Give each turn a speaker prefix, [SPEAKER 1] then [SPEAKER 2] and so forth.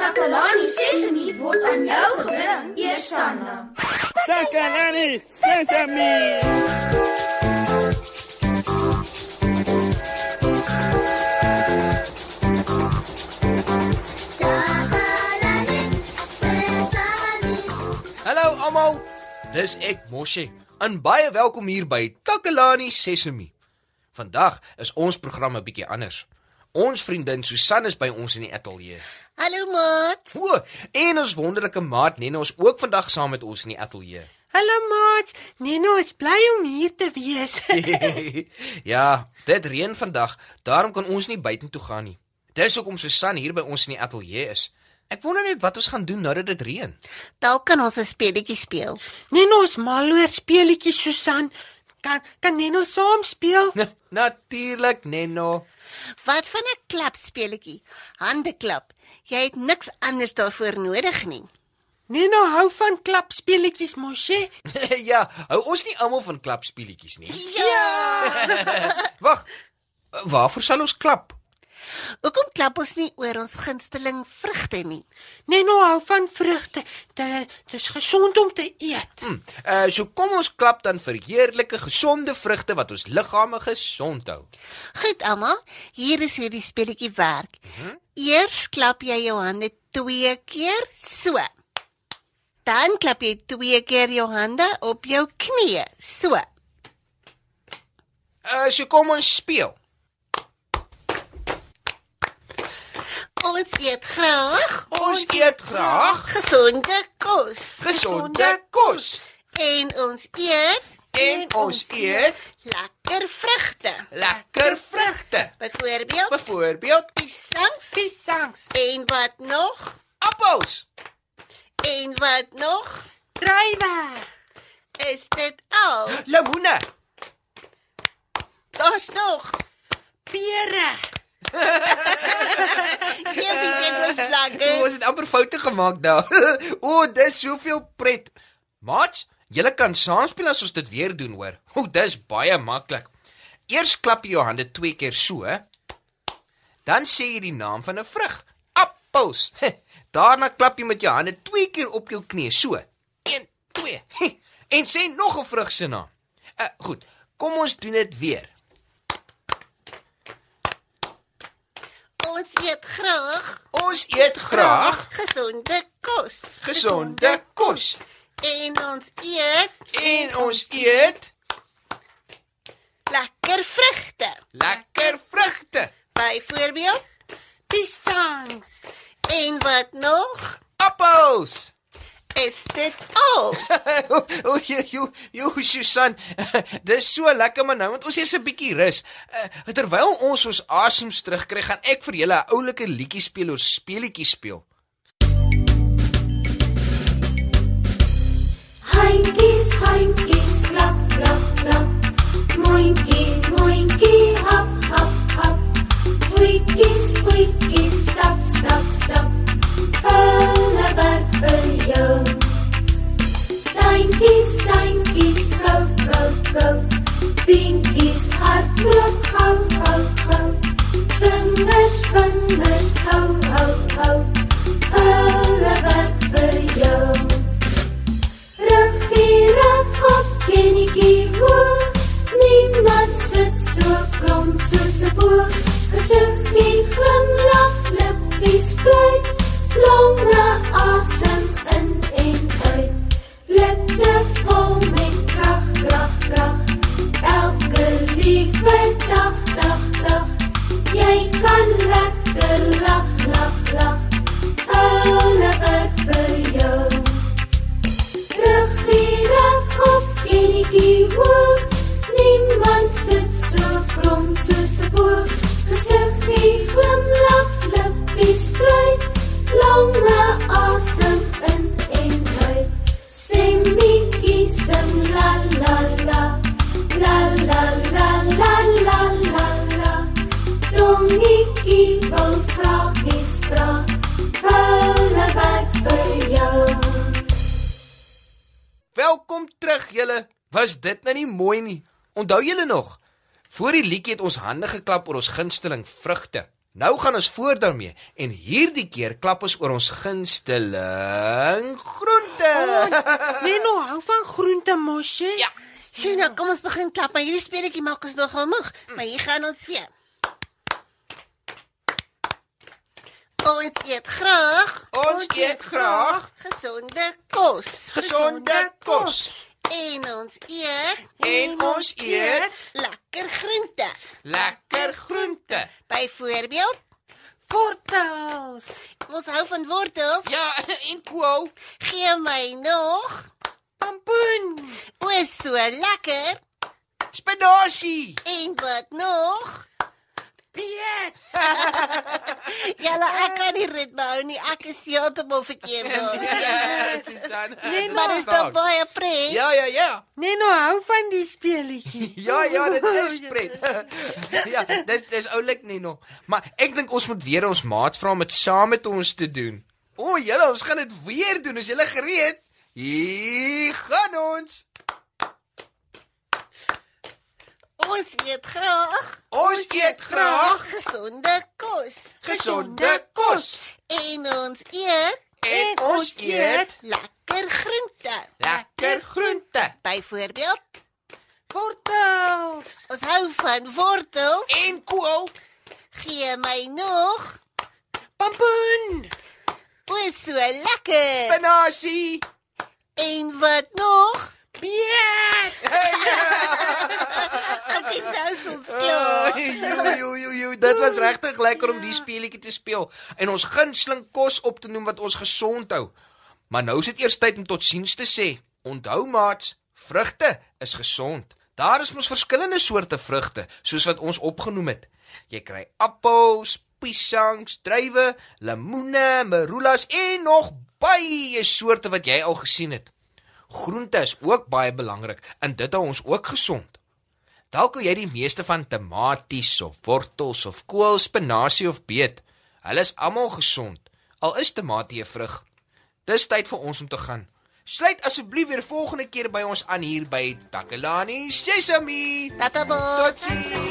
[SPEAKER 1] Takalani Sesemi word aan jou gebring, Eersanna.
[SPEAKER 2] Takalani Sesame.
[SPEAKER 3] Hallo almal. Dis ek Moshi. En baie welkom hier by Takalani Sesemi. Vandag is ons program 'n bietjie anders. Ons vriendin Susan is by ons in die ateljee.
[SPEAKER 4] Hallo maat.
[SPEAKER 3] O, en ons wonderlike maat Nena is ook vandag saam met ons in die ateljee.
[SPEAKER 4] Hallo maat. Neno is bly om hier te wees.
[SPEAKER 3] ja, dit reën vandag, daarom kan ons nie buitentoe gaan nie. Dis hoekom Susan hier by ons in die ateljee is. Ek wonder net wat ons gaan doen nadat dit reën.
[SPEAKER 4] Dalk kan ons 'n speletjie speel.
[SPEAKER 5] Neno is mal oor speletjies Susan. Kan kan Neno saam speel?
[SPEAKER 3] Natuurlik, Neno.
[SPEAKER 4] Wat van 'n klap speletjie? Hande klap. Jy het niks anders daarvoor nodig nie.
[SPEAKER 5] Neno hou van klap speletjies mosie.
[SPEAKER 3] ja, hou ons nie almal van klapspeletjies nie.
[SPEAKER 4] Ja.
[SPEAKER 3] Wag. Waarvoor sal ons klap?
[SPEAKER 4] Hoekom klap ons nie oor ons gunsteling vrugte nie?
[SPEAKER 5] Neno hou van vrugte. Dit dis gesond om te eet.
[SPEAKER 3] Hm, uh so kom ons klap dan vir heerlike gesonde vrugte wat ons liggame gesond hou.
[SPEAKER 4] Goed almal, hier is hoe die speletjie werk.
[SPEAKER 3] Hm?
[SPEAKER 4] Eers klap jy jou hande 2 keer so. Dan klap jy 2 keer jou hande op jou knieë, so.
[SPEAKER 3] Uh so kom ons speel.
[SPEAKER 4] Ons eet graag
[SPEAKER 3] Ons eet graag
[SPEAKER 4] gesonde kos
[SPEAKER 3] gesonde kos
[SPEAKER 4] en ons eet
[SPEAKER 3] en ons eet
[SPEAKER 4] lekker vrugte.
[SPEAKER 3] lekker vrugte.
[SPEAKER 4] Byvoorbeeld
[SPEAKER 3] Byvoorbeeld
[SPEAKER 4] piesangs
[SPEAKER 5] Piesangs,
[SPEAKER 4] en wat nog?
[SPEAKER 3] appels.
[SPEAKER 4] En wat nog?
[SPEAKER 5] drywe,
[SPEAKER 4] Is dit al?
[SPEAKER 3] Lemoene,
[SPEAKER 4] Daar's nog.
[SPEAKER 5] pere.
[SPEAKER 4] Ek weet dit was
[SPEAKER 3] o, ons
[SPEAKER 4] lekker.
[SPEAKER 3] het amper foute gemaak daar. o, dis soveel pret. Maats, julle kan saam speel as ons dit weer doen hoor. O, dis baie maklik. Eers klap jy jou hande twee keer so. Dan sê jy die naam van 'n vrug. Appels. Daarna klap jy met jou hande twee keer op jou knie so. 1 2. En sê nog 'n vrug se naam. Uh, goed, kom ons doen dit weer.
[SPEAKER 4] Ons eet graag
[SPEAKER 3] Ons eet graag
[SPEAKER 4] gesonde kos
[SPEAKER 3] gesonde kos.
[SPEAKER 4] en ons eet
[SPEAKER 3] En ons eet
[SPEAKER 4] lekker vrugte.
[SPEAKER 3] lekker vrugte,
[SPEAKER 4] Byvoorbeeld
[SPEAKER 5] Piesangs.
[SPEAKER 4] en wat nog?
[SPEAKER 3] appels.
[SPEAKER 4] Is dit al?
[SPEAKER 3] o, o, jo, jo, Susan, dis so lekker maar nou want ons het 'n bietjie rus. Uh, terwyl ons ons asems terugkry, gaan ek vir julle 'n oulike liedjie speel oor speletjies speel.
[SPEAKER 1] Handjies, handjies, klap, klap, klap. Mondjie, mondjie, hap, hap, hap. Voetjies, voetjies, stap, stap, stap. Hulle werk vir jou. Tuintjies, tuintjies, go, go, go. Pientjies, hardloop, gou, gou, gou. Vingers, vingers, hou, hou, hou. Hulle werk vir jou. Ruggie, rug op, kennetjie hoog. Niemand sit so krom soos 'n boog. Gesiggie glimlag, lippies vlei. Longe asem in en uit. Lippe vol met krag, krag, krag. Elke liewe dag, dag, dag. Jy kan lekker lag, lag, lag. Alle wat vir jou. Ruggie reg op, kennetjie hoog. Niemand sit so krom soos 'n boog. Gesiggie glimlag, lippies vlei. Lange asem in en uit. Semmetjie sing la la la. La la la la la la la. Dongetjie wil vragies vra. Hulle werk vir jou.
[SPEAKER 3] Welkom terug julle. Was dit nou nie mooi nie? Onthou julle nog? Voor die liedjie het ons hande geklap oor ons gunsteling vrugte. Nou gaan ons voort daarmee en hierdie keer klap ons oor ons gunsteling groente.
[SPEAKER 5] Neno hou van groente mosie.
[SPEAKER 3] Ja.
[SPEAKER 4] Sien nou, kom ons begin klap, maar hierdie speletjie maak ons nogal moeg, maar hier gaan ons weer. Ons eet graag
[SPEAKER 3] Ons eet graag
[SPEAKER 4] gesonde kos.
[SPEAKER 3] gesonde kos
[SPEAKER 4] En ons eet
[SPEAKER 3] en ons eet
[SPEAKER 4] lekker groente.
[SPEAKER 3] lekker groente.
[SPEAKER 4] Byvoorbeeld,
[SPEAKER 5] Wortels.
[SPEAKER 4] ons hou van wortels.
[SPEAKER 3] Ja, en kool.
[SPEAKER 4] Gee my nog.
[SPEAKER 5] Pampoen.
[SPEAKER 4] O, is so lekker.
[SPEAKER 3] Spinasie.
[SPEAKER 4] En wat nog?
[SPEAKER 5] Piet.
[SPEAKER 4] Julle ek kan nie ritme hou nie. Ek is heeltemal verkeerd daar.
[SPEAKER 3] Ja, Susan.
[SPEAKER 4] Maar is dit baie pret?
[SPEAKER 3] Ja, ja, ja.
[SPEAKER 5] Neno Nee, nou hou van die speletjie.
[SPEAKER 3] Ja ja, dit is pret. ja, dis dis oulik nie nog. Maar ek dink ons moet weer ons maat vra om dit saam met ons te doen. O, julle, ons gaan dit weer doen. Is julle gereed? Hier gaan ons.
[SPEAKER 4] Ons eet graag
[SPEAKER 3] Ons eet graag
[SPEAKER 4] gesonde kos.
[SPEAKER 3] gesonde kos
[SPEAKER 4] En ons eet
[SPEAKER 3] en ons eet
[SPEAKER 4] lekker groente.
[SPEAKER 3] lekker groente
[SPEAKER 4] Byvoorbeeld,
[SPEAKER 5] Wortels.
[SPEAKER 4] ons hou van wortels.
[SPEAKER 3] en kool.
[SPEAKER 4] Gee my nog.
[SPEAKER 5] Pampoen.
[SPEAKER 4] O, is so lekker.
[SPEAKER 3] Spinasie.
[SPEAKER 4] En wat nog?
[SPEAKER 5] Piet.
[SPEAKER 4] Ek het nou so
[SPEAKER 3] Ja,
[SPEAKER 4] skiel.
[SPEAKER 3] jo jo jo jo, dit was regtig lekker om die speletjie te speel en ons gunsteling kos op te noem wat ons gesond hou. Maar nou is dit eers tyd om totsiens te sê. Onthou maats, vrugte is gesond. Daar is mos verskillende soorte vrugte, soos wat ons opgenoem het. Jy kry appels, piesangs, druiwe, lemoene, marulas en nog baie soorte wat jy al gesien het. Groente is ook baie belangrik en dit hou ons ook gesond. Dalk hou jy die meeste van tomaties of wortels of kool, spinasie of beet. Hulle is almal gesond, al is tomatie 'n vrug. Dis tyd vir ons om te gaan. Sluit asseblief weer volgende keer by ons aan hier by Takalani Sesame.
[SPEAKER 4] Tata bo.
[SPEAKER 3] Totsiens.